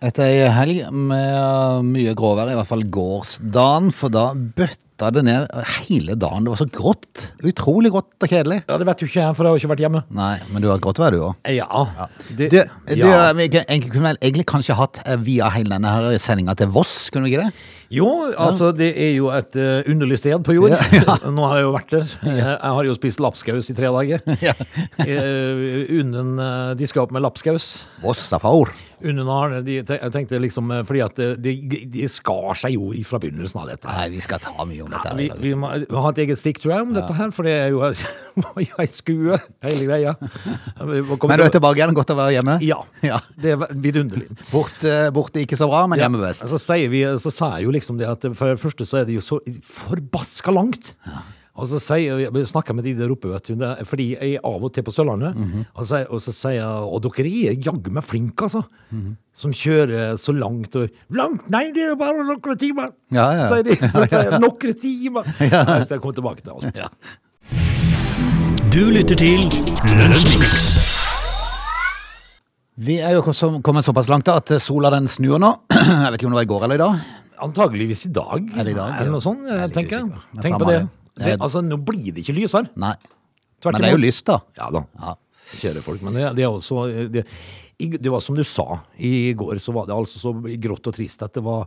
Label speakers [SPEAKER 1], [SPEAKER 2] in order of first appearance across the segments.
[SPEAKER 1] Etter ei helg med mye gråvær, i hvert fall gårsdagen, for da bøtta det ned hele dagen. Det var så grått. Utrolig grått og kjedelig.
[SPEAKER 2] Ja, det vet du ikke, for jeg har ikke vært hjemme.
[SPEAKER 1] Nei, men du har grått vær, du òg.
[SPEAKER 2] Ja. Det,
[SPEAKER 1] Du, du eh,
[SPEAKER 2] ja.
[SPEAKER 1] vi kan- egentlig kunne vel egentlig kanskje hatt eh, via hele denne her sendinga til Voss, kunne vi ikke det?
[SPEAKER 2] Jo, altså, det er jo et eh, underlig sted på jord. Nå har jeg jo vært der. Jeg, jeg har jo spist lapskaus i tre dager. Eh, Unnen eh, diska opp med lapskaus.
[SPEAKER 1] Vossafaur.
[SPEAKER 2] Unnen og Arne, de, te- jeg tenkte liksom eh, Fordi at eh, de, de skar seg jo fra begynnelsen av dette. her.
[SPEAKER 1] Nei, vi skal ta mye om dette. her i
[SPEAKER 2] Vi,
[SPEAKER 1] dag. altså.
[SPEAKER 2] vi må vi må ha et eget stikk, tror jeg, om dette her, for det er jo var jo ei skue, hele greia.
[SPEAKER 1] Men du er tilbake igjen, godt å være hjemme?
[SPEAKER 2] Ja.
[SPEAKER 1] Ja.
[SPEAKER 2] Det er vidunderlig.
[SPEAKER 1] Borte, borte ikke så bra, men hjemme best.
[SPEAKER 2] Så, altså, sier vi, så sa jeg jo liksom det at for det første så er det jo så forbaska langt. Og så sier, jeg snakker med de der oppe, vet du, det er- fordi jeg er av og til på Sørlandet,
[SPEAKER 1] Mhm.
[SPEAKER 2] og, så, og så sier jeg, og dere er jaggu meg flinke, altså.
[SPEAKER 1] Mhm.
[SPEAKER 2] Som kjører så langt og Langt? Nei, det er bare noen timer!
[SPEAKER 1] Ja, ja.
[SPEAKER 2] Sier de. Så sier jeg, noen timer! Så jeg kommer tilbake til alt.
[SPEAKER 3] Du lytter til Lunsjmix.
[SPEAKER 1] Vi er jo så- kommet såpass langt da, at eh, sola den snur nå. Jeg vet ikke om det var i går eller i dag.
[SPEAKER 2] Antageligvis i dag,
[SPEAKER 1] Er det i dag,
[SPEAKER 2] eller
[SPEAKER 1] ja?
[SPEAKER 2] noe sånt,
[SPEAKER 1] Jeg er litt
[SPEAKER 2] tenker jeg.
[SPEAKER 1] usikker, men
[SPEAKER 2] Tenk på
[SPEAKER 1] samme
[SPEAKER 2] det.
[SPEAKER 1] det.
[SPEAKER 2] det.
[SPEAKER 1] Det er-
[SPEAKER 2] Altså, nå blir det ikke lysere.
[SPEAKER 1] Nei.
[SPEAKER 2] Tvert
[SPEAKER 1] Men det er jo
[SPEAKER 2] imot.
[SPEAKER 1] lyst, da.
[SPEAKER 2] Ja da.
[SPEAKER 1] Ja.
[SPEAKER 2] Kjære folk. Men det, det er også det, i- det var som du sa i går, så var det altså så grått og trist at det var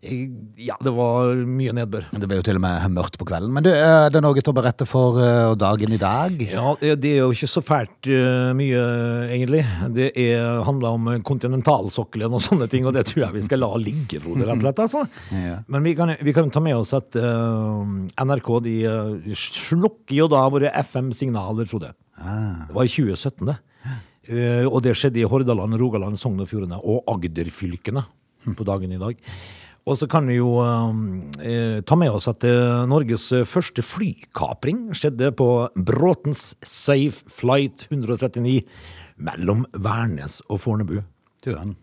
[SPEAKER 2] eh, Ja, det var mye nedbør.
[SPEAKER 1] Det ble jo til og med mørkt på kvelden. Men du, er det noe til å berette for eh, dagen i dag?
[SPEAKER 2] Ja, det det er jo ikke så fælt eh, mye, egentlig. Det er, handler om kontinentalsokkelen og sånne ting, og det tror jeg vi skal la ligge, Frode, rett og slett. Altså.
[SPEAKER 1] Ja.
[SPEAKER 2] Men vi kan, vi kan ta med oss at eh, NRK de eh, slukker jo da våre FM-signaler, Frode. Det var i 2017, det. Eh, og det skjedde i Hordaland, Rogaland, Sogn og Fjordane og Agderfylkene på dagen i dag. Og så kan vi jo eh, eh, ta med oss at eh, Norges første flykapring skjedde på Bråtens Safe Flight 139 mellom Værnes og Fornebu. Eh,
[SPEAKER 1] Du, han.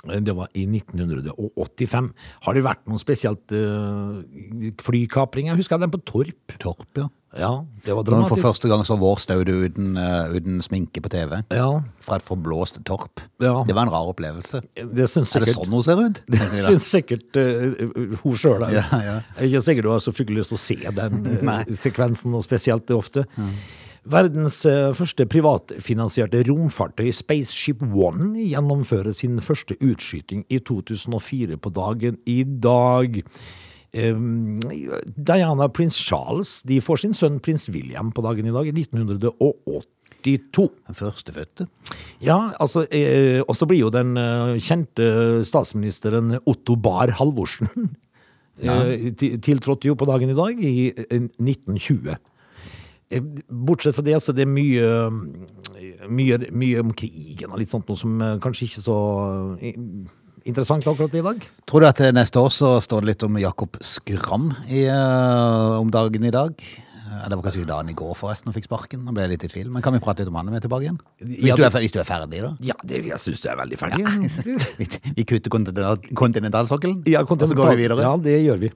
[SPEAKER 2] Det var i 1985. Har det vært noen spesielt eh, flykapring? Jeg husker den på Torp.
[SPEAKER 1] Torp, ja.
[SPEAKER 2] Ja, det var
[SPEAKER 1] Når han for
[SPEAKER 2] dramatisk.
[SPEAKER 1] første gang så vårstod du uten, eh, uten sminke på TV.
[SPEAKER 2] Ja,
[SPEAKER 1] Fra et forblåst torp.
[SPEAKER 2] Ja.
[SPEAKER 1] Det var en rar opplevelse.
[SPEAKER 2] det syns
[SPEAKER 1] Er det
[SPEAKER 2] sikkert
[SPEAKER 1] sånn hun ser ut?
[SPEAKER 2] Det syns sikkert eh, hun sjøl.
[SPEAKER 1] Ja, ja.
[SPEAKER 2] Det er ikke sikkert du har så fryktelig lyst til å se den eh,
[SPEAKER 1] Nei.
[SPEAKER 2] sekvensen, og spesielt det ofte. Verdens eh, første privatfinansierte romfartøy, Spaceship One, gjennomfører sin første utskyting i 2004 på dagen i dag. Eh, Diana og prins Charles de får sin sønn prins William på dagen i dag, i 1982.
[SPEAKER 1] Den førstefødte.
[SPEAKER 2] Ja, altså, eh, og så blir jo den eh, kjente statsministeren Otto Bahr Halvorsen eh, ti- tiltrådte jo på dagen i dag i eh, 1920. Eh, Bortsett fra det, så det er mye, eh, mye, mye om krigen og litt sånt noe som eh, kanskje ikke så eh, interessant akkurat i dag.
[SPEAKER 1] Tror du at eh, neste år så står det litt om Jakob Skram i, eh, om dagen i dag? Eh, Det var kanskje dagen i går forresten han fikk sparken. Han ble litt i tvil. Men kan vi prate litt om han når vi er tilbake igjen? Hvis,
[SPEAKER 2] Ja,
[SPEAKER 1] du, er,
[SPEAKER 2] det-
[SPEAKER 1] fer- hvis du er ferdig, da?
[SPEAKER 2] Ja, det, jeg syns det er veldig ferdig.
[SPEAKER 1] Vi, vi kutter kontinental, kontinentalsokkelen,
[SPEAKER 2] Ja,
[SPEAKER 1] og så går vi videre.
[SPEAKER 2] Ja, det gjør vi.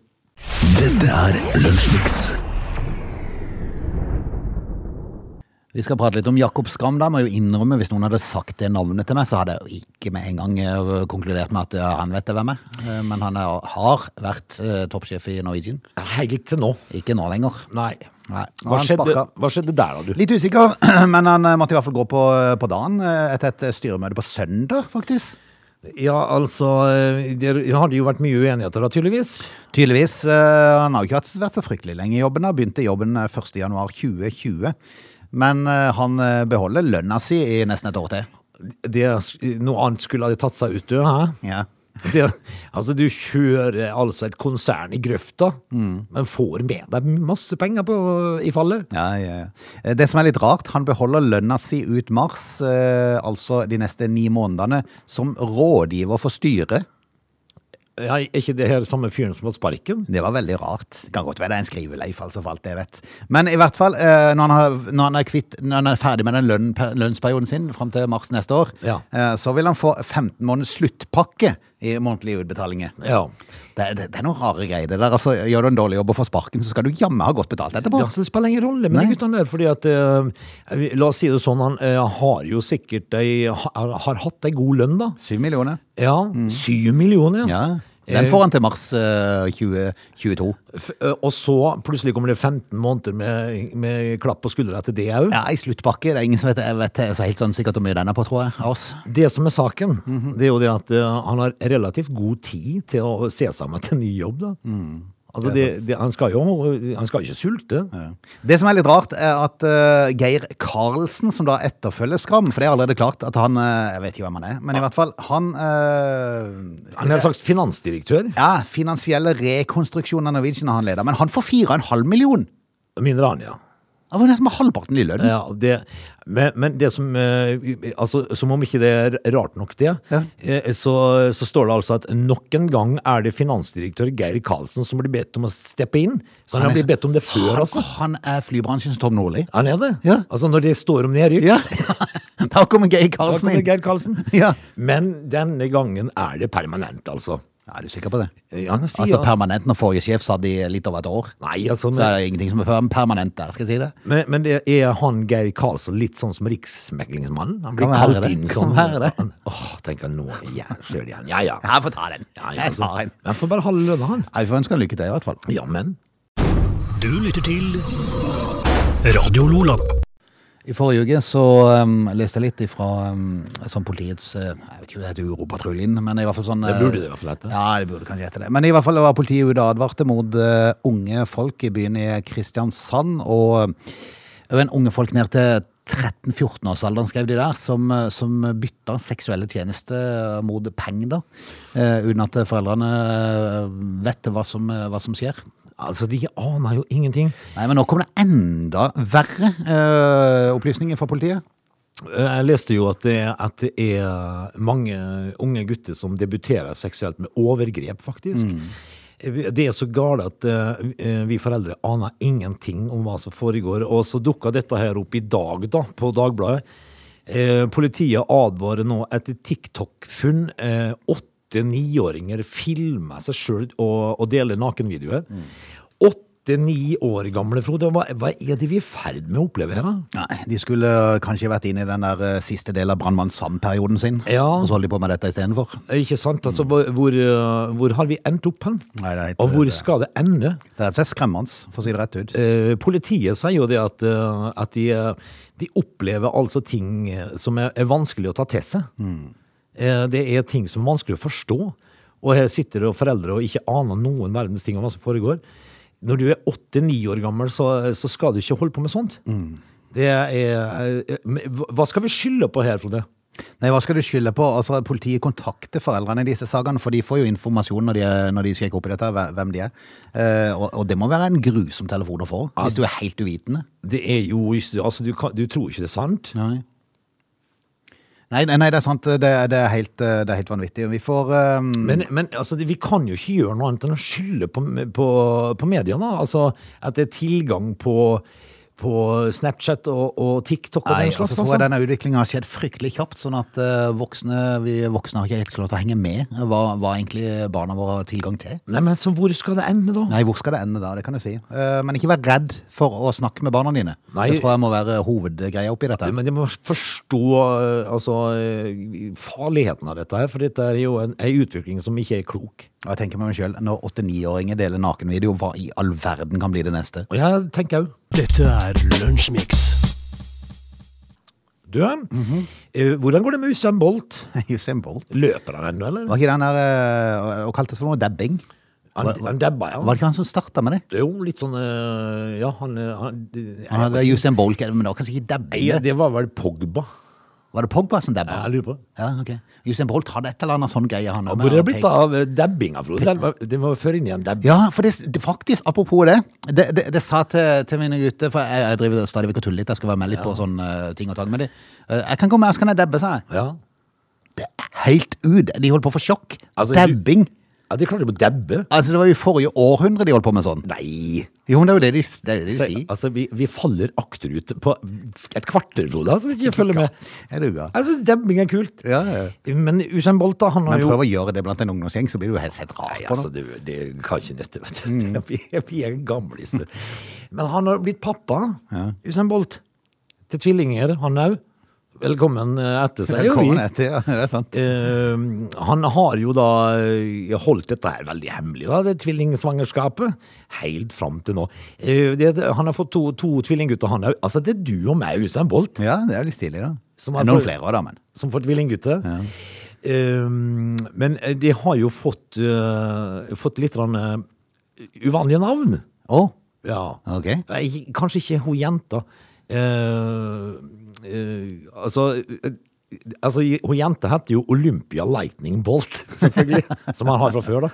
[SPEAKER 1] Vi skal prate litt om Jakob Skram. da, må jeg jo innrømme Hvis noen hadde sagt det navnet til meg, så hadde jeg jo ikke med en gang eh, konkludert med at ja, han vet det hvem er. Eh, Men han er, har vært eh, toppsjef i Norwegian.
[SPEAKER 2] Helt til nå.
[SPEAKER 1] Ikke nå lenger.
[SPEAKER 2] Nei.
[SPEAKER 1] Nei, nå
[SPEAKER 2] Hva
[SPEAKER 1] har han
[SPEAKER 2] skjedde,
[SPEAKER 1] sparka.
[SPEAKER 2] hva skjedde der, da, du?
[SPEAKER 1] Litt usikker, men han eh, måtte i hvert fall gå på, på dagen eh, etter et styremøte på søndag, faktisk.
[SPEAKER 2] Ja, altså eh, Det har det jo vært mye uenigheter da, tydeligvis.
[SPEAKER 1] Tydeligvis. eh, Han har jo ikke hatt- vært så fryktelig lenge i jobben. Han begynte i jobben eh, 1. januar 2020. Men eh, han eh, beholder lønna si i nesten et år til.
[SPEAKER 2] Det, noe annet skulle ha tatt seg ut, du. Hæ?
[SPEAKER 1] Ja.
[SPEAKER 2] Det, altså, du kjører altså et konsern i grøfta,
[SPEAKER 1] Mm.
[SPEAKER 2] men får med deg masse penger på, i fallet.
[SPEAKER 1] Ja, ja, ja. Eh, Det som er litt rart, han beholder lønna si ut mars, eh, altså de neste ni månedene, som rådgiver for styret.
[SPEAKER 2] Ja, er ikke det her samme fyren som har sparken?
[SPEAKER 1] Det var veldig rart. Det kan godt være det er en skriveleif, altså, for alt jeg vet. Men i hvert fall, eh, når han, har, når han, er, kvitt, når han er ferdig med den lønn, per- lønnsperioden sin fram til mars neste år,
[SPEAKER 2] Ja.
[SPEAKER 1] eh, så vil han få 15 måneders sluttpakke i månedlige utbetalinger.
[SPEAKER 2] Ja.
[SPEAKER 1] Det, det, det er noen rare greier det der. Altså, gjør du en dårlig jobb og får sparken, så skal du jammen ha godt betalt etterpå.
[SPEAKER 2] Ja, så det spiller ingen rolle med de
[SPEAKER 1] Nei.
[SPEAKER 2] guttene der, fordi at eh, vi- La oss si det sånn, han eh, har jo sikkert ei, har, har hatt ei god lønn, da.
[SPEAKER 1] Syv millioner.
[SPEAKER 2] Ja, Syv millioner,
[SPEAKER 1] Mm. Ja. Den får han til mars eh, 2022.
[SPEAKER 2] F- eh, Og så plutselig kommer det 15 måneder med, med klapp på skuldra til det òg.
[SPEAKER 1] Ja, i sluttpakke. Det er ingen som vet, jeg vet så helt sånn sikkert hvor mye den er på, tror jeg, av oss.
[SPEAKER 2] Det som er saken,
[SPEAKER 1] Mhm.
[SPEAKER 2] det er jo det at eh, han har relativt god tid til å se seg om etter en ny jobb. da. Altså,
[SPEAKER 1] Mhm. det er
[SPEAKER 2] det, det, han skal jo han skal ikke sulte.
[SPEAKER 1] Ja. Det som er litt rart, er at eh, Geir Karlsen, som da etterfølger Skram For det er allerede klart at han eh, Jeg vet ikke hvem han er, men i hvert fall han eh,
[SPEAKER 2] Han er en slags finansdirektør.
[SPEAKER 1] Ja, finansielle rekonstruksjon av Norwegian har han leder, men han får 4,5 million!
[SPEAKER 2] Mindre han, ja.
[SPEAKER 1] Det var nesten med halvparten i lønn.
[SPEAKER 2] Ja, det, men, men det som eh, altså, Som om ikke det er rart nok, det,
[SPEAKER 1] Ja.
[SPEAKER 2] eh, så, så står det altså at nok en gang er det finansdirektør Geir Karlsen som blir bedt om å steppe inn. Så han,
[SPEAKER 1] er
[SPEAKER 2] har blitt
[SPEAKER 1] så-
[SPEAKER 2] bedt om det før, altså.
[SPEAKER 1] Han, han er flybransjens Tom Nordli.
[SPEAKER 2] Han er det.
[SPEAKER 1] Ja.
[SPEAKER 2] Altså, når det står om nedrykk,
[SPEAKER 1] Ja, da kommer Geir
[SPEAKER 2] da
[SPEAKER 1] Karlsen
[SPEAKER 2] kommer
[SPEAKER 1] inn.
[SPEAKER 2] Geir Karlsen.
[SPEAKER 1] Ja.
[SPEAKER 2] Men denne gangen er det permanent, altså.
[SPEAKER 1] Ja, Er du sikker på det?
[SPEAKER 2] Eh, Han sier
[SPEAKER 1] Altså permanent når forrige sjef satt i litt over et år.
[SPEAKER 2] Nei, altså,
[SPEAKER 1] Så er
[SPEAKER 2] men,
[SPEAKER 1] det ingenting som er per- permanent der, skal jeg si det.
[SPEAKER 2] men, men det er han Geir Karlsen litt sånn som Riksmeglingsmannen? Han blir
[SPEAKER 1] Kan være
[SPEAKER 2] kalt
[SPEAKER 1] det.
[SPEAKER 2] inn
[SPEAKER 1] Kan
[SPEAKER 2] sånn.
[SPEAKER 1] være det.
[SPEAKER 2] Han- Åh, tenker jeg nå igjen. Sjøl igjen. Ja, ja.
[SPEAKER 1] Ja, jeg får ta den.
[SPEAKER 2] Ja, ja,
[SPEAKER 1] Jeg tar
[SPEAKER 2] altså.
[SPEAKER 1] den.
[SPEAKER 2] Jeg får bare halve lønna, han.
[SPEAKER 1] Ja, Vi får ønske han lykke til, i hvert fall.
[SPEAKER 2] Ja, men.
[SPEAKER 3] Du lytter til Radio Lola.
[SPEAKER 1] I forrige uke så um, leste jeg litt fra sånn politiets eh, Jeg vet ikke om det heter Europatruljen, men i hvert fall sånn
[SPEAKER 2] Det
[SPEAKER 1] eh,
[SPEAKER 2] burde det i hvert fall hete.
[SPEAKER 1] Ja, det burde kanskje hete det. Men i hvert fall var politiet ute og advarte mot eh, unge folk i byen i Kristiansand. Og eh, en unge folk ned til 13-14-årsalderen, skrev de der, som, eh, som bytta seksuelle tjenester mot penger, da. eh, uten at foreldrene eh, vet hva som, hva som skjer.
[SPEAKER 2] Altså, de aner jo ingenting.
[SPEAKER 1] Nei, men nå kommer det enda verre eh, opplysninger fra politiet.
[SPEAKER 2] Jeg leste jo at det, at det er mange unge gutter som debuterer seksuelt med overgrep, faktisk. Det er så galt at eh, vi foreldre aner ingenting om hva som foregår. Og så dukka dette her opp i dag, da, på Dagbladet. Eh, Politiet advarer nå etter TikTok-funn. eh, Åtte-niåringer filmer seg sjøl og, og deler nakenvideoer. Åtte-ni år gamle, Frode. Hva, hva er det vi er i ferd med å oppleve her, da?
[SPEAKER 1] Nei, de skulle kanskje vært inne i den der eh, siste del av Brannmann Sam-perioden sin.
[SPEAKER 2] Ja.
[SPEAKER 1] Og så holder de på med dette istedenfor.
[SPEAKER 2] Ikke sant? Altså, hvor, hvor, eh, hvor har vi endt opp hen?
[SPEAKER 1] Nei, det er helt- eh,
[SPEAKER 2] Og hvor skal det ende?
[SPEAKER 1] Det er rett og slett skremmende, for å si det rett ut.
[SPEAKER 2] Eh, politiet sier jo det at, eh, at de, eh, de opplever altså ting eh, som er, er vanskelig å ta til seg. Eh, det er ting som er vanskelig å forstå. Og her sitter det foreldre og ikke aner noen verdens ting om hva som foregår. Når du er åtte-ni år gammel, så, så skal du ikke holde på med sånt. Det er, eh, men hva- hva skal vi skylde på her, Frode?
[SPEAKER 1] Nei, Hva skal du skylde på? Altså, Politiet kontakter foreldrene i disse sakene, for de får jo informasjon når de, er- når de sjekker opp i dette, hve- hvem de er. Eh, og, og det må være en grusom telefon å få, hvis du er helt uvitende.
[SPEAKER 2] Det er jo, altså, du, kan, du tror ikke det er sant.
[SPEAKER 1] Nei. Nei, nei, nei, det er sant. Det, det, er, helt, eh, det er helt vanvittig. Vi får eh,
[SPEAKER 2] Men, men altså, vi kan jo ikke gjøre noe annet enn å skylde på, på, på mediene. Altså, at det er tilgang på, på Snapchat og, og TikTok og
[SPEAKER 1] Nei,
[SPEAKER 2] den slags.
[SPEAKER 1] altså, tror jeg
[SPEAKER 2] altså.
[SPEAKER 1] denne utviklingen har skjedd fryktelig kjapt, sånn at eh, voksne, vi voksne har ikke helt klart å henge med eh, hva, hva egentlig barna våre har tilgang til.
[SPEAKER 2] Nei, men så hvor skal det ende, da?
[SPEAKER 1] Nei, hvor skal det ende da, det kan du si. Eh, men ikke vær redd for å snakke med barna dine.
[SPEAKER 2] Nei.
[SPEAKER 1] Det tror jeg må være hovedgreia oppi dette.
[SPEAKER 2] Men de må forstå eh, altså, eh, farligheten av dette her, for dette er jo en, en utvikling som ikke er klok.
[SPEAKER 1] Og jeg tenker med meg selv, når 8-9-åringer deler nakenvideo, hva i all verden kan bli det neste?
[SPEAKER 2] Og jeg tenker òg
[SPEAKER 3] Dette er Lunsjmix.
[SPEAKER 2] Du,
[SPEAKER 1] Mhm.
[SPEAKER 2] eh, hvordan går det med Usain Bolt?
[SPEAKER 1] Usain Bolt.
[SPEAKER 2] Løper han ennå, eller?
[SPEAKER 1] Var ikke den der, eh, og kaltes for noe, dabbing?
[SPEAKER 2] Han, han dabba, ja.
[SPEAKER 1] Var det ikke han som startet med det?
[SPEAKER 2] Jo, litt sånn eh, Ja, han, eh, han,
[SPEAKER 1] Han hadde Usain Bolt, men det var kanskje ikke
[SPEAKER 2] Nei,
[SPEAKER 1] dabbing. det.
[SPEAKER 2] det var vel Pogba.
[SPEAKER 1] Var det Pogba som dabba?
[SPEAKER 2] Jeg lurer på.
[SPEAKER 1] Ja, ok. Usain Bolt hadde et eller annet sånn greie han.
[SPEAKER 2] Hvor er det blitt av eh, dabbinga, Frode? Den var- Den var før inn i en dabb.
[SPEAKER 1] Ja, for det, det, faktisk, apropos det Det, det, det sa til, til mine gutter For jeg, jeg driver stadig vekk og tuller litt Jeg skal være med litt på sånne eh, ting og tang med de Eh, Jeg kan komme her, så kan jeg debbe, sa jeg
[SPEAKER 2] Ja.
[SPEAKER 1] Det er helt ut, de holdt på for sjokk
[SPEAKER 2] Altså, du-
[SPEAKER 1] Debbing
[SPEAKER 2] ja, det klarte du å dabbe.
[SPEAKER 1] Altså, det var jo i forrige århundre de holdt på med sånn
[SPEAKER 2] Nei.
[SPEAKER 1] Jo, men det er jo det de, det er det de
[SPEAKER 2] Så,
[SPEAKER 1] sier.
[SPEAKER 2] altså, vi, vi faller akterut på et kvarter, Frode, altså, hvis ikke jeg følger med.
[SPEAKER 1] Er det jo, ja.
[SPEAKER 2] Jeg syns dabbing er kult.
[SPEAKER 1] Ja, ja.
[SPEAKER 2] Men Usain Bolt, da, han har
[SPEAKER 1] Men
[SPEAKER 2] jo
[SPEAKER 1] prøv å gjøre det blant en ungdomsgjeng, så blir du helt sett rar
[SPEAKER 2] Nei,
[SPEAKER 1] på
[SPEAKER 2] altså,
[SPEAKER 1] nå.
[SPEAKER 2] det, det kan ikke dette, vet du.
[SPEAKER 1] Mm.
[SPEAKER 2] Vi, vi er gamliser. Men han har blitt pappa, Usain Bolt, til tvillinger, han òg. Velkommen eh, etter seg.
[SPEAKER 1] Velkommen etter, ja. Det er sant.
[SPEAKER 2] Eh, han har jo da eh, holdt dette her veldig hemmelig, da, det tvillingsvangerskapet, helt fram til nå. Eh, det, han har fått to, to tvillinggutter, han òg. Altså, det er du og meg, Usain Bolt,
[SPEAKER 1] Ja, det er litt stilig, da.
[SPEAKER 2] Som
[SPEAKER 1] Det
[SPEAKER 2] er
[SPEAKER 1] er noen
[SPEAKER 2] for-
[SPEAKER 1] flere av dem, men.
[SPEAKER 2] som får tvillinggutter. Eh, men de har jo fått, eh, fått litt grann, eh, uvanlige navn.
[SPEAKER 1] Å,
[SPEAKER 2] Ja.
[SPEAKER 1] ok.
[SPEAKER 2] Nei, Kanskje ikke hun jenta. Eh, eh, altså eh, Altså, Hun jenta heter jo Olympia Lightning Bolt, selvfølgelig. som han har fra før, da.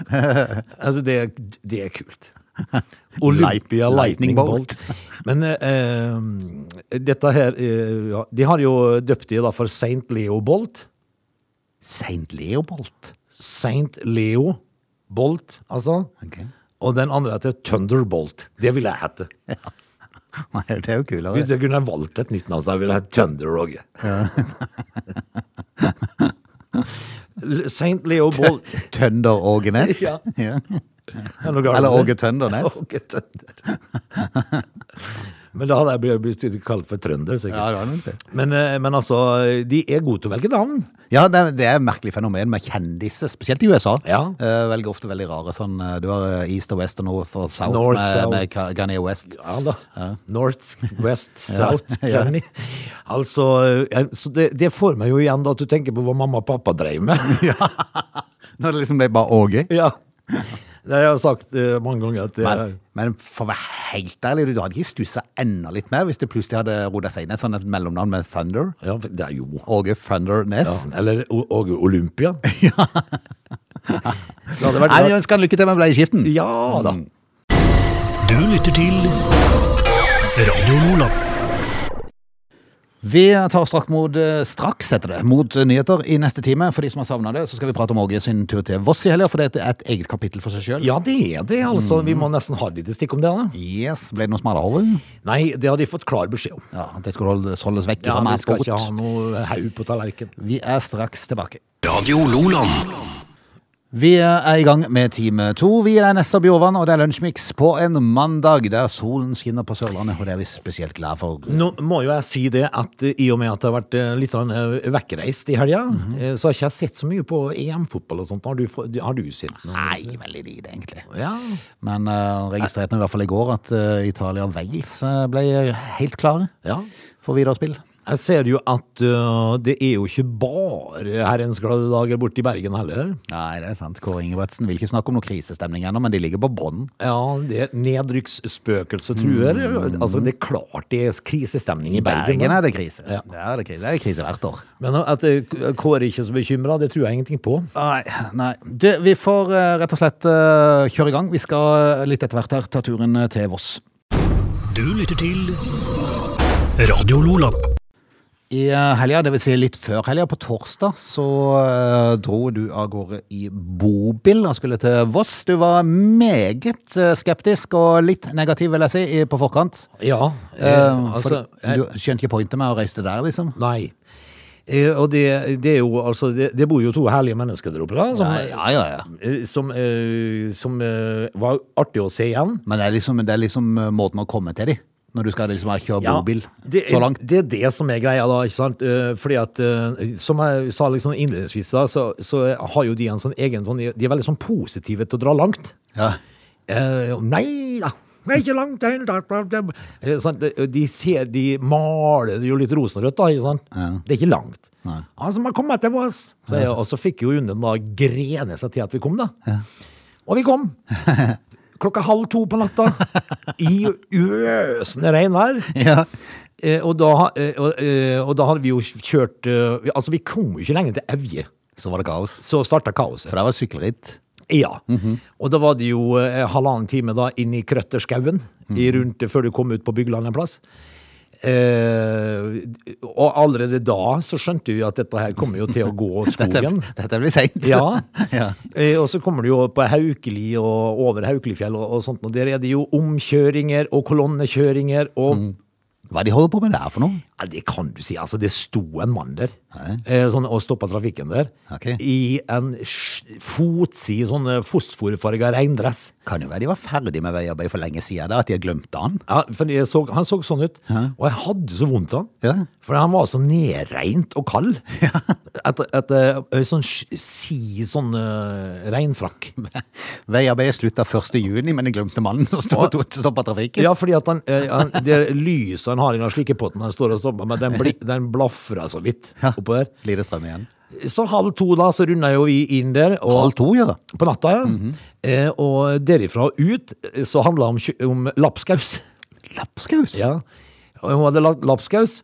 [SPEAKER 2] Altså, Det, det er kult. Olympia
[SPEAKER 1] Light-
[SPEAKER 2] Lightning
[SPEAKER 1] Lightning
[SPEAKER 2] Bolt.
[SPEAKER 1] Bolt.
[SPEAKER 2] Men eh, eh, dette her eh, ja, De har jo døpt de da for St. Leo Bolt.
[SPEAKER 1] Saint Leopold.
[SPEAKER 2] St. Leo Bolt, altså.
[SPEAKER 1] Ok.
[SPEAKER 2] Og den andre heter Thunderbolt. Det ville jeg hete.
[SPEAKER 1] Nei, det er jo kulere.
[SPEAKER 2] Hvis jeg kunne valgt et nytt navn, så ville jeg hett Thunder Roger. St. Leo Boll
[SPEAKER 1] Tønder Ågenes.
[SPEAKER 2] Ja.
[SPEAKER 1] Ja.
[SPEAKER 2] Er noe galt
[SPEAKER 1] Eller
[SPEAKER 2] med
[SPEAKER 1] Åge
[SPEAKER 2] det?
[SPEAKER 1] Tøndernes.
[SPEAKER 2] Åge Tønder. Men da hadde jeg blitt- blitt kalt for trønder, sikkert.
[SPEAKER 1] det var noe til.
[SPEAKER 2] Men, eh, men altså, de er gode til å velge navn.
[SPEAKER 1] Ja, det er, det er et merkelig fenomen med kjendiser, spesielt i USA.
[SPEAKER 2] Ja.
[SPEAKER 1] Eh, velger ofte veldig rare sånn eh, Du har eh, East og West og North og South
[SPEAKER 2] North,
[SPEAKER 1] med,
[SPEAKER 2] South.
[SPEAKER 1] med Ka- Kanye West.
[SPEAKER 2] Ja da. North, West, South, Kenny. Altså, eh, så det, det får meg jo igjen da at du tenker på hva mamma og pappa drev med.
[SPEAKER 1] Når det liksom ble bare Åge.
[SPEAKER 2] Ja. Det har jeg sagt eh, mange ganger. at det
[SPEAKER 1] Men,
[SPEAKER 2] er-
[SPEAKER 1] men for å være helt ærlig, du hadde ikke stussa enda litt mer hvis du plutselig hadde roda seg inn et sånt et mellomnavn med Thunder.
[SPEAKER 2] ja, for det er jo
[SPEAKER 1] Åge Thunder Ness.
[SPEAKER 2] ja, Eller O- Åge Olympia. det hadde vært
[SPEAKER 1] Nei, vi
[SPEAKER 2] rart.
[SPEAKER 1] ønsker han lykke til med Mm. bleieskiften.
[SPEAKER 2] Ja da.
[SPEAKER 3] Du lytter til Radio Lola.
[SPEAKER 1] Vi tar straks mot, eh, straks heter det, mot eh, nyheter i neste time. For de som har savna det, så skal vi prate om Åge sin tur til Voss i helga, for det er et eget kapittel for seg sjøl.
[SPEAKER 2] Ja, det er det, altså. Vi må nesten ha et lite stikk om det. da.
[SPEAKER 1] Yes, Ble det noe smalahove?
[SPEAKER 2] Nei, det har de fått klar beskjed om.
[SPEAKER 1] Ja, at det skulle holdes, holdes vekk
[SPEAKER 2] Ja, Mm.
[SPEAKER 1] fra
[SPEAKER 2] Vi
[SPEAKER 1] mer
[SPEAKER 2] skal ikke
[SPEAKER 1] sport.
[SPEAKER 2] ha noe haug på tallerkenen.
[SPEAKER 1] Vi er straks tilbake.
[SPEAKER 3] Radio Loland.
[SPEAKER 1] Vi er i gang med time to. Vi er Nessa Bjorvann, og det er Lunsjmix på en mandag der solen skinner på Sørlandet, og det er vi spesielt glad for.
[SPEAKER 2] Nå må jo jeg si det at eh, i og med at det har vært eh, litt grann, eh, vekkreist i helga, eh, så har ikke jeg sett så mye på EM-fotball og sånt. Har du, få- har du sett noe?
[SPEAKER 1] Nei, veldig lite, egentlig.
[SPEAKER 2] Ja.
[SPEAKER 1] Men uh, registrerte i hvert fall i går at eh, Italia og Wales eh, ble helt klare
[SPEAKER 2] ja.
[SPEAKER 1] for viderespill.
[SPEAKER 2] Jeg ser jo at øh, det er jo ikke bare herrens glade dager borte i Bergen heller.
[SPEAKER 1] Nei, det er sant. Kåre Ingebrigtsen vil ikke snakke om noe krisestemning ennå, men de ligger på bånn.
[SPEAKER 2] Ja, det nedrykksspøkelset truer. Altså, det er klart det er krisestemning i Bergen.
[SPEAKER 1] Mm. Bergen
[SPEAKER 2] da.
[SPEAKER 1] er det krise.
[SPEAKER 2] Ja.
[SPEAKER 1] Det er det krise, det er krise hvert år.
[SPEAKER 2] Men at øh, Kåre ikke er så bekymra, det tror jeg ingenting på.
[SPEAKER 1] Nei, nei. Du, vi får eh, rett og slett eh, kjøre i gang. Vi skal eh, litt etter hvert her ta turen eh, til Voss.
[SPEAKER 3] Du lytter til Radio Lola.
[SPEAKER 1] I eh, helga, det vil si litt før helga, på torsdag, så eh, dro du av gårde i bobil og skulle til Voss. Du var meget eh, skeptisk og litt negativ, vil jeg si, i- på forkant.
[SPEAKER 2] Ja, øh,
[SPEAKER 1] Eh,
[SPEAKER 2] altså
[SPEAKER 1] for,
[SPEAKER 2] jeg,
[SPEAKER 1] du skjønte ikke pointet med å reise der, liksom?
[SPEAKER 2] Nei. Eh, og det, det er jo altså Det, det bor jo to herlige mennesker der oppe, da. Som,
[SPEAKER 1] Nei, ja, ja, ja.
[SPEAKER 2] eh, som, øh, som øh, var artig å se igjen.
[SPEAKER 1] Men det er liksom, det er liksom eh, måten å komme til de, når du skal liksom kjøre bobil
[SPEAKER 2] det, er-
[SPEAKER 1] så langt.
[SPEAKER 2] Det er det som er greia, da. ikke sant? Eh, Fordi at, eh, Som jeg sa liksom innledningsvis, da, så, så har jo de en sånn egen sånn, De er veldig sånn positive til å dra langt.
[SPEAKER 1] Ja.
[SPEAKER 2] Eh, nei da, det er ikke langt det er langt, bla, bla, bla. Eh, sant? De- De ser, de maler jo litt rosenrødt, da. ikke sant? Det er ikke langt. Altså, man kommer etter oss. Så, jeg- Og så fikk jo hunden da grene seg til at vi kom, da. Og vi kom. Klokka halv to på natta, i øsende regnvær.
[SPEAKER 1] ja.
[SPEAKER 2] Eh, og, da, eh, og, eh, og da hadde vi jo kjørt eh, vi- Altså, vi kom jo ikke lenger til Evje.
[SPEAKER 1] Så var det kaos.
[SPEAKER 2] Så starta kaoset.
[SPEAKER 1] For det var sykkelritt.
[SPEAKER 2] Ja.
[SPEAKER 1] Mhm.
[SPEAKER 2] Og da var det jo
[SPEAKER 1] Mhm.
[SPEAKER 2] eh, halvannen time da inn i Krøtterskauen i rundt, før du kom ut på Bygland en plass. Eh, og allerede da så skjønte vi at dette her kommer jo til å gå
[SPEAKER 1] Dette,
[SPEAKER 2] skogen.
[SPEAKER 1] dette blir seint.
[SPEAKER 2] Ja.
[SPEAKER 1] ja.
[SPEAKER 2] Eh, Og så kommer du jo på Haukeli og over Haukelifjell og, og sånt, og der er det jo omkjøringer og kolonnekjøringer og
[SPEAKER 1] Mhm. Hva de holder på med der for noe?
[SPEAKER 2] ja, Det kan du si. Altså, det sto en mann der
[SPEAKER 1] Nei.
[SPEAKER 2] eh, sånn, og stoppa trafikken der
[SPEAKER 1] Ok.
[SPEAKER 2] i en sj- fotsid sånn eh, fosforfarga regndress.
[SPEAKER 1] Kan jo være de var ferdig med veiarbeid for lenge siden, da, at de har glemt den.
[SPEAKER 2] Ja, for jeg så, han så sånn ut, og jeg hadde så vondt av han.
[SPEAKER 1] Ja.
[SPEAKER 2] For han var så nedreint og kald. Etter, etter eh, sånn sj- si sånn eh, regnfrakk.
[SPEAKER 1] Veiarbeidet slutta 1. juni, men de glemte mannen som stoppa trafikken.
[SPEAKER 2] Ja, fordi at han, eh, han, det lyset han har i den slikkepotten han står og stopper med, den, bli, den blafra så vidt oppå der.
[SPEAKER 1] Lite strøm igjen.
[SPEAKER 2] Så halv to da, så runda jo vi inn der. Og,
[SPEAKER 1] Halv to, Mhm. ja.
[SPEAKER 2] På natta, ja. eh, og derifra og ut eh, så handla det om, kjø- om lapskaus.
[SPEAKER 1] Lapskaus.
[SPEAKER 2] Ja. Og hun hadde lagt lapskaus.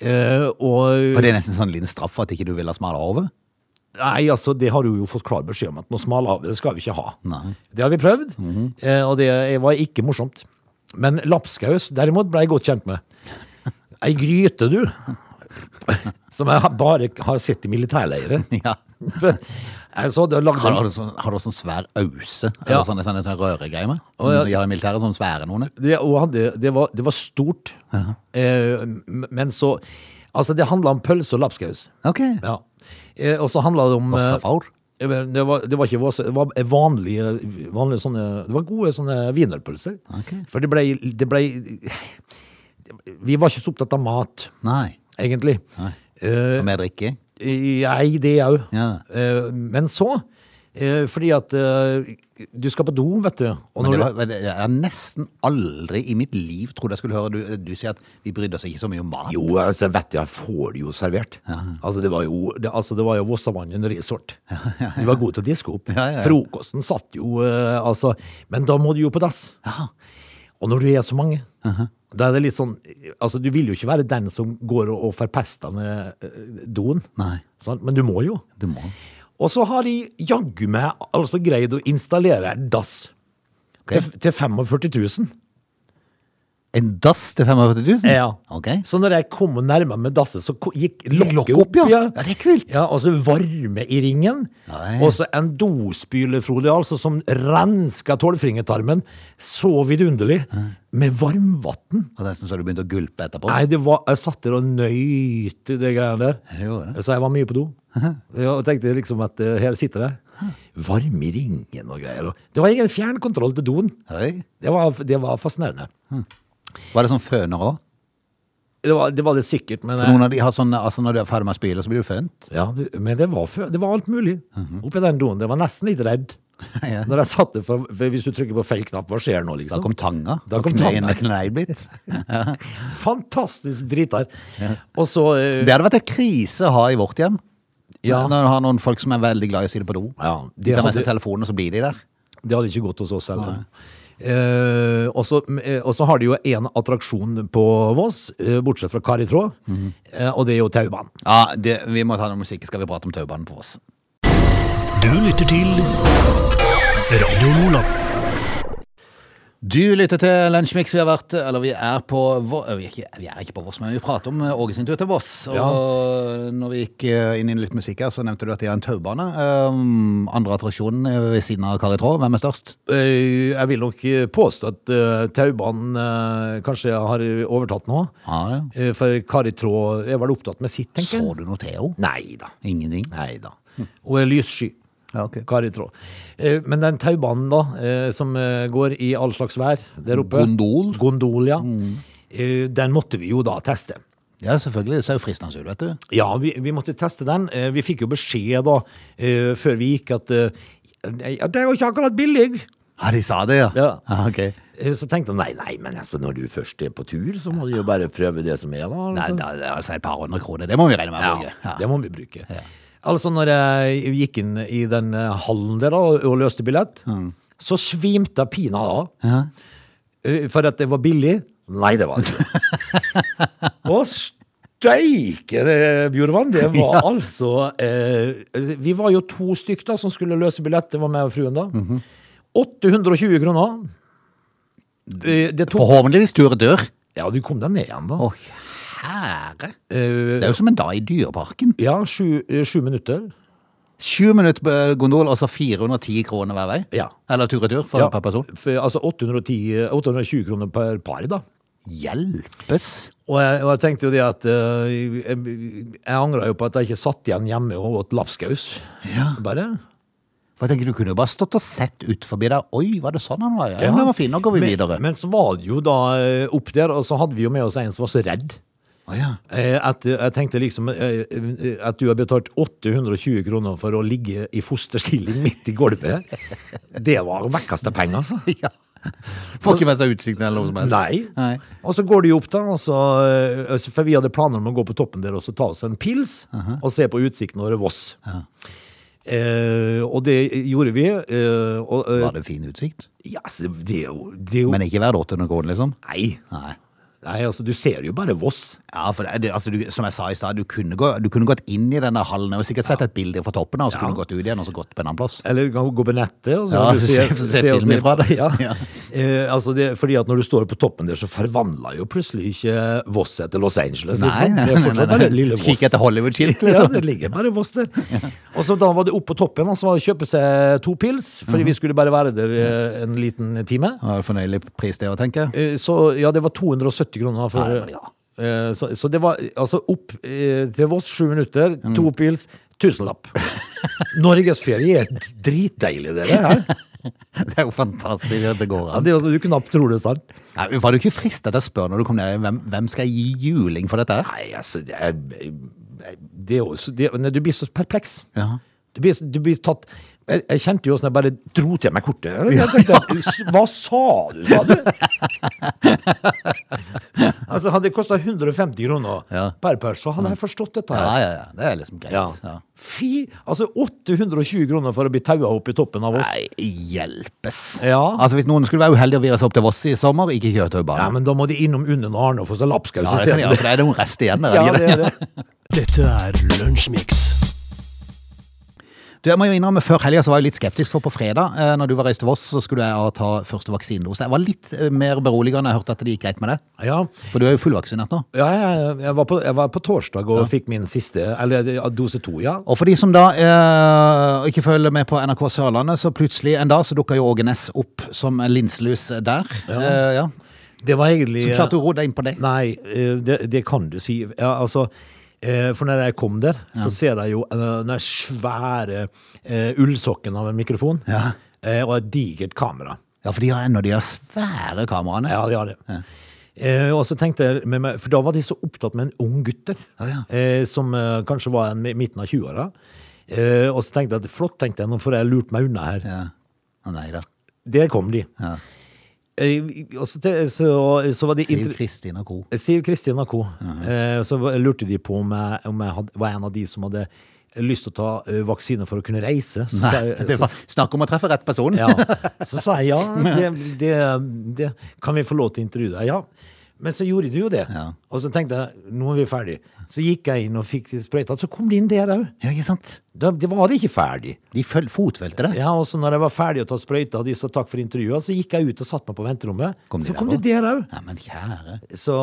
[SPEAKER 2] Eh, og
[SPEAKER 1] For det er nesten sånn liten straff for at ikke du ville smale over.
[SPEAKER 2] Nei, altså, det har hun jo fått klar beskjed om at noe smal av det skal vi ikke ha.
[SPEAKER 1] Nei. Mhm.
[SPEAKER 2] Det har vi prøvd, eh, og det var ikke morsomt. Men lapskaus, derimot, ble jeg godt kjent med. Ei gryte, du, som jeg har- bare har sett i militærleirer.
[SPEAKER 1] Ja.
[SPEAKER 2] Så hadde jeg lagd
[SPEAKER 1] Har,
[SPEAKER 2] en-
[SPEAKER 1] har, du sånn, har du sånn svær ause?
[SPEAKER 2] Ja.
[SPEAKER 1] Eller sånne, sånne, sånne røregreier med?
[SPEAKER 2] Å, ja.
[SPEAKER 1] De har i militæret sånne svære noen.
[SPEAKER 2] det, og hadde, det, var, det var stort, eh, m- men så Altså, det handla om pølse og lapskaus.
[SPEAKER 1] Ok.
[SPEAKER 2] Ja. Eh, og så handla det om eh,
[SPEAKER 1] Vossafaur.
[SPEAKER 2] Eh, men Det var, det var ikke Våse, det var vanlige, vanlige sånne, det var gode sånne wienerpølser.
[SPEAKER 1] Ok.
[SPEAKER 2] For det ble, det ble Vi var ikke så opptatt av mat,
[SPEAKER 1] Nei.
[SPEAKER 2] egentlig.
[SPEAKER 1] Nei.
[SPEAKER 2] Eh,
[SPEAKER 1] Og med drikke.
[SPEAKER 2] jeg, det òg.
[SPEAKER 1] Ja.
[SPEAKER 2] Eh, men så eh, Fordi at eh, du skal på do, vet du.
[SPEAKER 1] Men
[SPEAKER 2] Og når
[SPEAKER 1] det
[SPEAKER 2] du-
[SPEAKER 1] var, det- jeg har nesten aldri i mitt liv trodd jeg skulle høre du, du si at vi brydde oss ikke så mye om mat.
[SPEAKER 2] Jo, altså, vet du, jeg får det jo servert. Altså, det var jo, det, altså, det var jo Vossavannet resort. De var gode til å diske opp.
[SPEAKER 1] Ja, ja, ja.
[SPEAKER 2] Frokosten satt jo, eh, altså. Men da må du jo på dass. Og når du er så mange,
[SPEAKER 1] Uh-huh.
[SPEAKER 2] da er det litt sånn, altså, du vil jo ikke være den som går og, og forpester ned eh, doen.
[SPEAKER 1] Nei.
[SPEAKER 2] Sant? Men du må jo.
[SPEAKER 1] Du må.
[SPEAKER 2] Og så har de jaggu meg altså, greid å installere en dass. Til, til 45 000.
[SPEAKER 1] En dass til 45 000?
[SPEAKER 2] Ja.
[SPEAKER 1] Ok.
[SPEAKER 2] Så når jeg kom og nærma meg dasset, så ko- gikk
[SPEAKER 1] Gikk
[SPEAKER 2] lokket
[SPEAKER 1] lokket
[SPEAKER 2] opp,
[SPEAKER 1] opp, ja.
[SPEAKER 2] ja.
[SPEAKER 1] Ja, det er kult.
[SPEAKER 2] Ja, og så varme i ringen.
[SPEAKER 1] Nei.
[SPEAKER 2] Og så en dospyle, Frode, altså, som renska tolvfingertarmen så vidunderlig med varmvann.
[SPEAKER 1] Og nesten så du begynte å gulpe etterpå.
[SPEAKER 2] Nei, det var, jeg satt der og nøyt i det greiene der.
[SPEAKER 1] Det gjorde det.
[SPEAKER 2] Så jeg var mye på do. Ja, og tenkte liksom at eh, her sitter jeg. Varme i ringen og greier. og- Det var ingen fjernkontroll til doen.
[SPEAKER 1] Oi.
[SPEAKER 2] Det var, det var fascinerende.
[SPEAKER 1] Var det sånn føner òg?
[SPEAKER 2] Det var, det var det sikkert, men eh, jeg-
[SPEAKER 1] Noen av de har sånn, altså når du er ferdig med å spyle, så blir du fønt.
[SPEAKER 2] Ja, det, men det var, før, det var alt mulig oppi den doen. Jeg var nesten litt redd
[SPEAKER 1] Mhm. Ja.
[SPEAKER 2] når jeg satt der, for, for hvis du trykker på feil knapp, hva skjer nå,
[SPEAKER 1] Da
[SPEAKER 2] liksom?
[SPEAKER 1] kom tanga.
[SPEAKER 2] Da kom
[SPEAKER 1] Og knei-
[SPEAKER 2] tanga.
[SPEAKER 1] knei blitt.
[SPEAKER 2] Fantastisk dritar! Og så eh,
[SPEAKER 1] Det hadde vært et krise å ha i vårt hjem.
[SPEAKER 2] Ja.
[SPEAKER 1] Når du har noen folk som er veldig glad i å si det på do.
[SPEAKER 2] ja,
[SPEAKER 1] De
[SPEAKER 2] det,
[SPEAKER 1] tar med seg
[SPEAKER 2] hadde,
[SPEAKER 1] telefonen, og så blir de der.
[SPEAKER 2] det hadde ikke gått hos oss heller. Eh, og så eh, og så har de jo én attraksjon på Voss, eh, bortsett fra Kari Tråd,
[SPEAKER 1] Mhm.
[SPEAKER 2] eh, og det er jo taubanen.
[SPEAKER 1] Ja, det, Vi må ta noe musikk, skal vi prate om taubanen på oss.
[SPEAKER 3] Du lytter til Radio Lola.
[SPEAKER 1] Du lytter til Lunsjmix. Vi har vært, eller vi er på Vå- vi er, ikke, vi er ikke på Voss, men vi prater om eh, Åge sin tur til Voss. Og når vi gikk eh, inn i litt musikk her, så nevnte du at de har en taubane. Um, andre attraksjonen eh, ved siden av Kari Traa. Hvem er størst?
[SPEAKER 2] Eh, jeg vil nok eh, påstå at eh, taubanen eh, kanskje har overtatt nå.
[SPEAKER 1] Ja, det.
[SPEAKER 2] Eh, for Kari Traa er vel opptatt med sitt, tenker jeg.
[SPEAKER 1] Så du noe Theo?
[SPEAKER 2] Nei da.
[SPEAKER 1] Ingenting?
[SPEAKER 2] Nei da. Hun er lyssky.
[SPEAKER 1] Ja, ok.
[SPEAKER 2] Kari Traa. Eh, Men den taubanen, da, eh, som eh, går i all slags vær der oppe
[SPEAKER 1] Gondol. Mm.
[SPEAKER 2] Gondol, ja. Eh, Den måtte vi jo da teste.
[SPEAKER 1] Ja, selvfølgelig. Det ser jo fristende ut, vet du.
[SPEAKER 2] Ja, vi, vi måtte teste den. Eh, Vi fikk jo beskjed da, eh, før vi gikk, at eh, «Nei, ja, det er jo ikke akkurat billig.
[SPEAKER 1] Ja, de sa det, ja.
[SPEAKER 2] Ja.
[SPEAKER 1] ok.
[SPEAKER 2] Eh, Så tenkte jeg nei, nei, men altså, når du først er på tur, så må du jo bare prøve det som er, da.
[SPEAKER 1] Nei,
[SPEAKER 2] altså.»
[SPEAKER 1] da, det er altså et par hundre kroner. Det må vi regne med. Børge.
[SPEAKER 2] Ja, det må vi bruke. Altså, når jeg gikk inn i den eh, hallen der da, og løste billett, så svimte jeg pina da. Eh, For at det var billig. Nei, det var det ikke. Å, steike, det, Bjørvann, det var altså eh, Vi var jo to stykk da som skulle løse billett, det var meg og fruen da. 820 kroner. Eh, Det tok
[SPEAKER 1] Forhåpentligvis tur dør.
[SPEAKER 2] Ja, du kom deg ned igjen, da.
[SPEAKER 1] Å, herre.
[SPEAKER 2] Eh,
[SPEAKER 1] Det er jo som en dag i Dyreparken.
[SPEAKER 2] ja, sju, eh, sju minutter.
[SPEAKER 1] Sju minutter på gondol, altså 410 kroner hver vei.
[SPEAKER 2] Ja.
[SPEAKER 1] Eller tur-retur for
[SPEAKER 2] Ja,
[SPEAKER 1] per person.
[SPEAKER 2] for, altså 810, eh, 820 kroner per par, da.
[SPEAKER 1] Hjelpes!
[SPEAKER 2] Og jeg, og jeg tenkte jo det at eh, jeg, jeg angra jo på at jeg ikke satt igjen hjemme og åt lapskaus.
[SPEAKER 1] Ja.
[SPEAKER 2] Bare.
[SPEAKER 1] For jeg tenker, Du kunne jo bare stått og sett ut forbi der. Oi, var det sånn han var? Ja,
[SPEAKER 2] Ja.
[SPEAKER 1] men Den var fin, nå går vi
[SPEAKER 2] men,
[SPEAKER 1] videre.
[SPEAKER 2] Men så var det jo da eh, opp der, og så hadde vi jo med oss en som var så redd.
[SPEAKER 1] Å ja.
[SPEAKER 2] Eh, At eh, jeg tenkte liksom eh, eh, at du har betalt 820 kroner for å ligge i fosterstilling midt i gulvet. Det var vekkeste penger, altså.
[SPEAKER 1] ja. Får ikke med seg utsikten eller noe som helst.
[SPEAKER 2] Nei.
[SPEAKER 1] Nei.
[SPEAKER 2] Og så går de opp, da. Og så, eh, altså, for vi hadde planer om å gå på toppen der og så ta oss en pils og se på utsikten over Voss. Eh, og det gjorde vi. Eh, og, eh,
[SPEAKER 1] Var det fin utsikt?
[SPEAKER 2] ja, altså, det er jo, det er jo
[SPEAKER 1] Men ikke verdt 800 kroner, liksom?
[SPEAKER 2] Nei.
[SPEAKER 1] Nei.
[SPEAKER 2] Nei, altså, du ser jo bare Voss.
[SPEAKER 1] Ja, for det, det- altså, du, som jeg sa i stad, du, kunne gå- du kunne gått inn i denne hallen og sikkert sett et bilde fra toppen, og så
[SPEAKER 2] Ja.
[SPEAKER 1] kunne du gått ut igjen og så gått på en annen plass.
[SPEAKER 2] Eller du kan gå på nettet og så
[SPEAKER 1] Ja,
[SPEAKER 2] kan du
[SPEAKER 1] se- se
[SPEAKER 2] oss
[SPEAKER 1] film
[SPEAKER 2] ned-
[SPEAKER 1] ifra det.
[SPEAKER 2] Ja.
[SPEAKER 1] Ja.
[SPEAKER 2] Eh, altså det, fordi at når du står på toppen der, så forvandla jo plutselig ikke Voss etter Los Angeles.
[SPEAKER 1] Nei,
[SPEAKER 2] liksom.
[SPEAKER 1] nei,
[SPEAKER 2] det er
[SPEAKER 1] nei,
[SPEAKER 2] fortsatt
[SPEAKER 1] nei, nei.
[SPEAKER 2] bare lille Voss.
[SPEAKER 1] Kikk etter Hollywood-skilt,
[SPEAKER 2] Ja,
[SPEAKER 1] liksom.
[SPEAKER 2] det ligger bare Voss der. Og så da var det opp på toppen, og så var det å kjøpe seg to pils,
[SPEAKER 1] Mhm.
[SPEAKER 2] fordi vi skulle bare være der eh, en liten time.
[SPEAKER 1] Det var jo fornøyelig pris, det å tenke.
[SPEAKER 2] Eh, Så ja, det var 270 kroner for
[SPEAKER 1] Ja, det var det,
[SPEAKER 2] eh, så, så det var altså opp eh, til Voss, sju minutter,
[SPEAKER 1] Mhm.
[SPEAKER 2] to pils, tusenlapp. Norgesferie er dritdeilig, det der.
[SPEAKER 1] Det er jo fantastisk at det går
[SPEAKER 2] Ja,
[SPEAKER 1] an.
[SPEAKER 2] det, er altså, du knapt tror det er sant.
[SPEAKER 1] Nei, var du ikke fristet til å spørre når du kom ned, hvem, hvem skal jeg gi juling for dette her?
[SPEAKER 2] Nei, altså, det er, det er jo så- det, nei, Du blir så perpleks.
[SPEAKER 1] Ja.
[SPEAKER 2] Du blir, du blir tatt jeg, jeg kjente jo åssen jeg bare dro til meg kortet. Jeg tenkte, "S- Hva sa du, sa du? altså, hadde det kosta 150 kroner
[SPEAKER 1] Ja.
[SPEAKER 2] per pers, så hadde jeg forstått dette. her.
[SPEAKER 1] Ja, ja, ja. Det er liksom greit.
[SPEAKER 2] Ja.
[SPEAKER 1] Ja.
[SPEAKER 2] Fy, altså 820 kroner for å bli taua opp i toppen av oss.
[SPEAKER 1] Nei, hjelpes.
[SPEAKER 2] Ja.
[SPEAKER 1] Altså, hvis noen skulle være uheldig og vire seg opp til Voss i sommer, ikke kjør til
[SPEAKER 2] Ja,
[SPEAKER 1] Urbana.
[SPEAKER 2] men da må de innom Unnen og Arne og få seg lapskaus
[SPEAKER 1] Ja, det kan de gjøre,
[SPEAKER 2] isteden.
[SPEAKER 1] for det er noen rest igjen der. er det
[SPEAKER 2] Ja,
[SPEAKER 1] ikke det?
[SPEAKER 2] det er det.
[SPEAKER 3] Dette er Lunsjmix.
[SPEAKER 1] Du, jeg må jo innrømme, Før helga var jeg litt skeptisk, for på fredag eh, når du var reist til Voss, så skulle jeg ja, ta første vaksinedose. Jeg var litt eh, mer beroligende når jeg hørte at det gikk greit med det.
[SPEAKER 2] Ja,
[SPEAKER 1] For du er jo fullvaksinert nå.
[SPEAKER 2] ja jeg, jeg, var på, jeg var på torsdag og fikk min siste, eller ja, dose to, ja.
[SPEAKER 1] Og for de som da eh, ikke følger med på NRK Sørlandet, så plutselig en dag så dukka jo Åge Næss opp som en linselus der. Eh, ja.
[SPEAKER 2] Det var egentlig
[SPEAKER 1] Så klarte du å roe deg inn på det.
[SPEAKER 2] Nei, eh, det, det kan du si. Ja, altså, eh, for når jeg kom der, så ser jeg jo eh, den der svære eh, ullsokken av en mikrofon,
[SPEAKER 1] Ja.
[SPEAKER 2] eh, og et digert kamera.
[SPEAKER 1] Ja, for de har ennå de der svære kameraene.
[SPEAKER 2] Ja, de har det. Eh, og så tenkte jeg med meg, For da var de så opptatt med en ung gutt der,
[SPEAKER 1] Ja, ja.
[SPEAKER 2] eh, som eh, kanskje var en, i midten av 20-åra. Eh, og så tenkte jeg at flott, tenkte jeg, nå får jeg lurt meg unna her.
[SPEAKER 1] Ja. Å, nei da.
[SPEAKER 2] Der kom de.
[SPEAKER 1] Ja.
[SPEAKER 2] Eh, og så, te- så, så var de
[SPEAKER 1] Siv
[SPEAKER 2] inter-
[SPEAKER 1] Kristin og co.
[SPEAKER 2] Siv Kristin og co. Eh, så var- lurte de på om jeg, om jeg hadde, var en av de som hadde lyst til å ta eh, vaksine for å kunne reise. Så sa jeg-
[SPEAKER 1] Det
[SPEAKER 2] så-
[SPEAKER 1] var- Snakk om å treffe rett person.
[SPEAKER 2] ja. Så sa jeg ja, det, det, det kan vi få lov til å intervjue deg. Ja. Men så gjorde de jo det.
[SPEAKER 1] Ja.
[SPEAKER 2] Og så tenkte jeg nå er vi ferdig. Så gikk jeg inn og fikk sprøyta, så kom de inn der òg.
[SPEAKER 1] Ja, ikke sant?
[SPEAKER 2] Da det var det ikke ferdig.
[SPEAKER 1] De føl- fotfølte det.
[SPEAKER 2] Ja, og så når jeg var ferdig å ta sprøyta, og de sa takk for intervjuet, så gikk jeg ut og satte meg på venterommet.
[SPEAKER 1] Kom de
[SPEAKER 2] så
[SPEAKER 1] der
[SPEAKER 2] kom de
[SPEAKER 1] også?
[SPEAKER 2] der òg.
[SPEAKER 1] Ja, men kjære.
[SPEAKER 2] Så,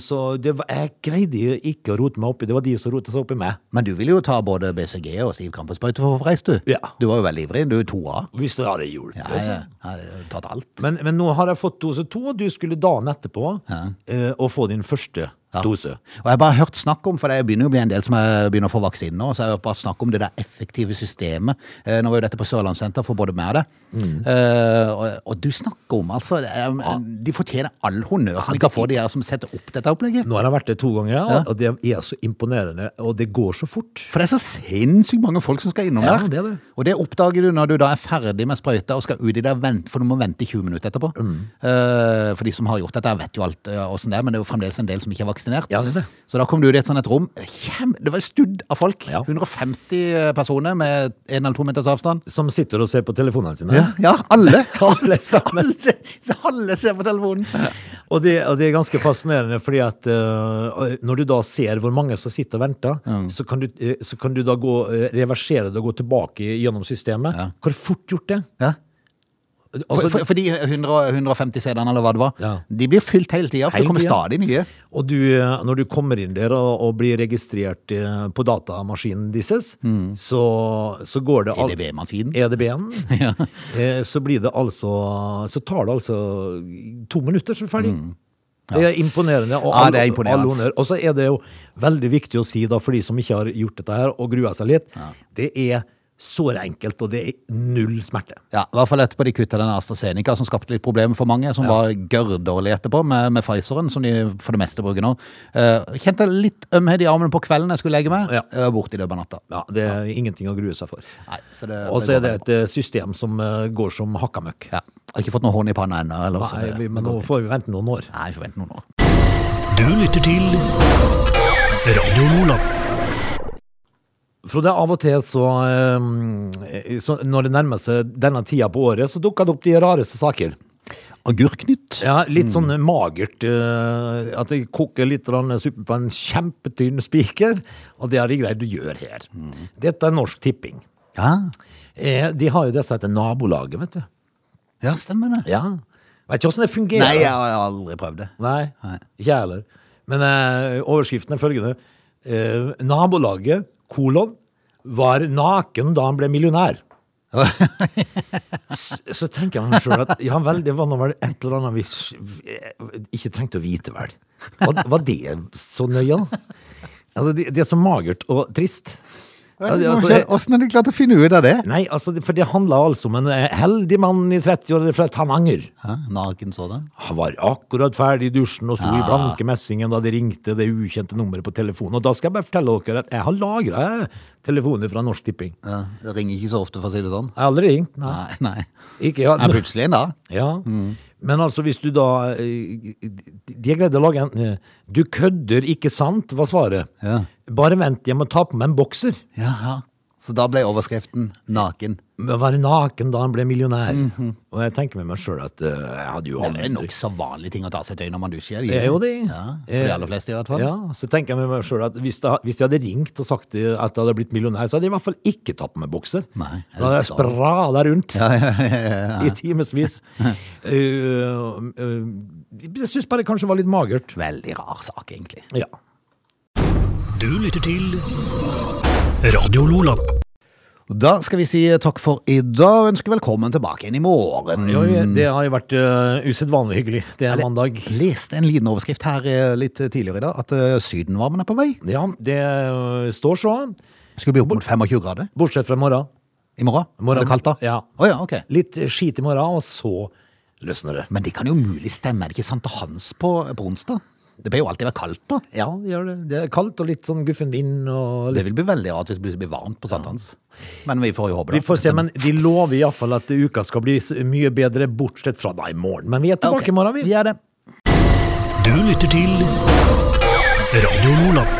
[SPEAKER 2] så det var, jeg greide jo ikke å rote meg oppi. Det var de som rotet seg oppi meg.
[SPEAKER 1] Men du ville jo ta både BCG og Siv Kampesprøyte for å få reist, du.
[SPEAKER 2] Ja.
[SPEAKER 1] Du var jo veldig ivrig. Du to av.
[SPEAKER 2] Hvis det hadde hjulpet.
[SPEAKER 1] Ja,
[SPEAKER 2] altså.
[SPEAKER 1] jeg har tatt alt.
[SPEAKER 2] Men, men nå har jeg fått dose to, og du skulle dagen etterpå eh, å få din første
[SPEAKER 1] Ja.
[SPEAKER 2] dose.
[SPEAKER 1] Og jeg har bare hørt snakk om, for det begynner jo å bli en del som er- begynner å få vaksine nå, så jeg har bare snakk om det der effektive systemet. Eh, Nå var jo dette på Sørlandssenter for både meg og deg.
[SPEAKER 2] Mm.
[SPEAKER 1] Eh, og, og du snakker om, altså, det er- de fortjener all honnør som de kan få, de her som setter opp dette opplegget.
[SPEAKER 2] Nå har jeg vært det to ganger, ja. og det er så imponerende. Og det går så fort.
[SPEAKER 1] For det er så sinnssykt mange folk som skal innom
[SPEAKER 2] Ja,
[SPEAKER 1] der.
[SPEAKER 2] det er det.
[SPEAKER 1] Og det oppdager du når du da er ferdig med sprøyta og skal ut i det, og vente, for du må vente i 20 minutter etterpå.
[SPEAKER 2] Mm.
[SPEAKER 1] Eh, for de som har gjort dette, vet jo alt eh, åssen det er, men det er jo fremdeles en del som ikke er vaksinert.
[SPEAKER 2] Ja, det er det.
[SPEAKER 1] Så da kom du ut i et sånt et rom. Kjem, det var studd av folk.
[SPEAKER 2] Ja.
[SPEAKER 1] 150 eh, personer med en eller to meters avstand.
[SPEAKER 2] Som sitter og ser på telefonene sine.
[SPEAKER 1] Ja, ja alle.
[SPEAKER 2] Alle sammen.
[SPEAKER 1] alle. Alle ser på telefonen.
[SPEAKER 2] Og det, og det er ganske fascinerende, fordi at eh, når du da ser hvor mange som sitter og venter, så, kan du, eh, så kan du da gå, eh, reversere det og gå tilbake gjennom systemet. Hvor fort gjort det?
[SPEAKER 1] Ja.
[SPEAKER 2] altså,
[SPEAKER 1] for, for, for de 100, 150 CD-ene eller hva det var,
[SPEAKER 2] Ja.
[SPEAKER 1] de blir fylt hele tida, for
[SPEAKER 2] Hele
[SPEAKER 1] det kommer
[SPEAKER 2] tiden.
[SPEAKER 1] stadig nye.
[SPEAKER 2] Og du, eh, når du kommer inn der og, og blir registrert eh, på datamaskinen disses,
[SPEAKER 1] Mm.
[SPEAKER 2] så, så går det
[SPEAKER 1] E
[SPEAKER 2] al-
[SPEAKER 1] EDB-maskinen.
[SPEAKER 2] EDB-en.
[SPEAKER 1] Ja.
[SPEAKER 2] eh, Så blir det altså Så tar det altså to minutter, så er du ferdig. Det er imponerende. Og,
[SPEAKER 1] Mm. Ja,
[SPEAKER 2] all-
[SPEAKER 1] det er imponerende.
[SPEAKER 2] all honnør. og så er det jo veldig viktig å si, da, for de som ikke har gjort dette her og grua seg litt, det er såre enkelt, og det er null smerte.
[SPEAKER 1] Ja, I hvert fall etterpå de kutta den AstraZeneca, som skapte litt problemer for mange. Som var gørrdårlig etterpå, med, med Pfizeren, som de for det meste bruker nå. Eh, kjente litt ømhet i armen på kvelden jeg skulle legge meg.
[SPEAKER 2] Ja.
[SPEAKER 1] Ja. Borte i løpet av natta.
[SPEAKER 2] Ja, Det er ingenting å grue seg for.
[SPEAKER 1] Nei, så det-
[SPEAKER 2] og så er
[SPEAKER 1] det går
[SPEAKER 2] det et eh, system som eh, går som hakka møkk.
[SPEAKER 1] Ja. Har ikke fått noe hånd i panna ennå. eller så
[SPEAKER 2] Nei,
[SPEAKER 1] det-
[SPEAKER 2] vi-
[SPEAKER 1] det
[SPEAKER 2] men
[SPEAKER 1] går
[SPEAKER 2] nå
[SPEAKER 1] fint.
[SPEAKER 2] får vi vente noen år.
[SPEAKER 1] Nei, forvent noen år.
[SPEAKER 3] Du lytter til Radio Lola.
[SPEAKER 2] Frode, av og til så, eh, så Når det nærmer seg denne tida på året, så dukker det opp de rareste saker.
[SPEAKER 1] Agurknytt.
[SPEAKER 2] Ja, Litt sånn
[SPEAKER 1] Mm.
[SPEAKER 2] magert. eh, At jeg koker litt grann suppe på en kjempetynn spiker. Og det har de greid å gjøre her.
[SPEAKER 1] Mm.
[SPEAKER 2] Dette er Norsk Tipping.
[SPEAKER 1] Ja.
[SPEAKER 2] Eh, De har jo det som heter nabolaget, vet du.
[SPEAKER 1] ja, stemmer det.
[SPEAKER 2] Ja. Vet ikke åssen det fungerer.
[SPEAKER 1] Nei, jeg har aldri prøvd det.
[SPEAKER 2] Nei,
[SPEAKER 1] Nei.
[SPEAKER 2] ikke jeg heller. Men eh, overskriften er følgende. Eh, nabolaget, kolon, var naken da han ble millionær. S- Så tenker jeg meg sjøl at ja vel, det var nå vel et eller annet vi s- eh, ikke trengte å vite, vel. Var, var det så nøye, da? Altså, det, det er så magert og trist. Altså, jeg-
[SPEAKER 1] Åssen har de klart å finne ut av det?
[SPEAKER 2] nei, altså, det- for det handla altså om en eh, heldig mann i 30-årene fra Tananger.
[SPEAKER 1] Hæ? Naken sådan?
[SPEAKER 2] Han var akkurat ferdig i dusjen og sto i
[SPEAKER 1] Ja.
[SPEAKER 2] blanke messingen da de ringte det ukjente nummeret på telefonen. Og da skal jeg bare fortelle dere at jeg har lagra telefoner fra Norsk Tipping.
[SPEAKER 1] Ja, det ringer ikke så ofte, for å si det sånn.
[SPEAKER 2] Jeg har aldri ringt. Nei.
[SPEAKER 1] Nei, Mm. nei.
[SPEAKER 2] Ikke, ja.
[SPEAKER 1] Nei, plutselig en dag.
[SPEAKER 2] ja. Men altså, hvis du da eh, De greide å lage en eh, Du kødder, ikke sant? var svaret.
[SPEAKER 1] Ja.
[SPEAKER 2] Bare vent, jeg må ta på meg en bokser.
[SPEAKER 1] Jaha. Så da ble overskriften 'naken'.
[SPEAKER 2] Men Være naken da han ble millionær. Og jeg tenker med meg sjøl at eh, jeg hadde jo
[SPEAKER 1] Mhm. Det er
[SPEAKER 2] aldri
[SPEAKER 1] nokså vanlige ting å ta seg et øye når man dusjer.
[SPEAKER 2] Det er jo det. Eh,
[SPEAKER 1] Ja, for de aller fleste i hvert fall.
[SPEAKER 2] Ja, så tenker jeg med meg selv at hvis, det, hvis jeg hadde ringt og sagt det at jeg hadde blitt millionær, så hadde jeg i hvert fall ikke tatt på meg bukser.
[SPEAKER 1] Nei,
[SPEAKER 2] Da hadde jeg sprada rundt i timevis. Eh, jeg syns bare det kanskje var litt magert.
[SPEAKER 1] Veldig rar sak, egentlig.
[SPEAKER 2] Ja.
[SPEAKER 3] Du lytter til Radio Lola.
[SPEAKER 1] Da skal vi si eh, takk for i dag, og ønsker velkommen tilbake igjen i morgen.
[SPEAKER 2] Jo, det har jo vært uh, usedvanlig hyggelig. Det er mandag.
[SPEAKER 1] Leste en liten overskrift her eh, litt tidligere i dag, at eh, sydenvarmen er på vei.
[SPEAKER 2] Ja, det eh, står så.
[SPEAKER 1] Skulle bli opp mot 25 grader
[SPEAKER 2] Bortsett fra i morgen.
[SPEAKER 1] i morgen.
[SPEAKER 2] Morgen-
[SPEAKER 1] Er det kaldt da?
[SPEAKER 2] Ja.
[SPEAKER 1] Å ja, ok.
[SPEAKER 2] Litt skit i morgen, og så løsner det.
[SPEAKER 1] Men det kan jo mulig stemme, er det ikke sant til hans på, på onsdag? Det bør jo alltid være kaldt da.
[SPEAKER 2] Ja, det gjør det. Det er kaldt og litt sånn guffen vind og
[SPEAKER 1] Det vil bli veldig rart hvis det blir varmt på sankthans. Men vi får jo håpe
[SPEAKER 2] Vi
[SPEAKER 1] det.
[SPEAKER 2] får se, men de lover iallfall at uka skal bli s- mye bedre, bortsett fra da i morgen. Men vi er tilbake
[SPEAKER 1] Ok,
[SPEAKER 2] i morgen, vi.
[SPEAKER 1] Vi er det.
[SPEAKER 3] Du lytter til Radio Lola.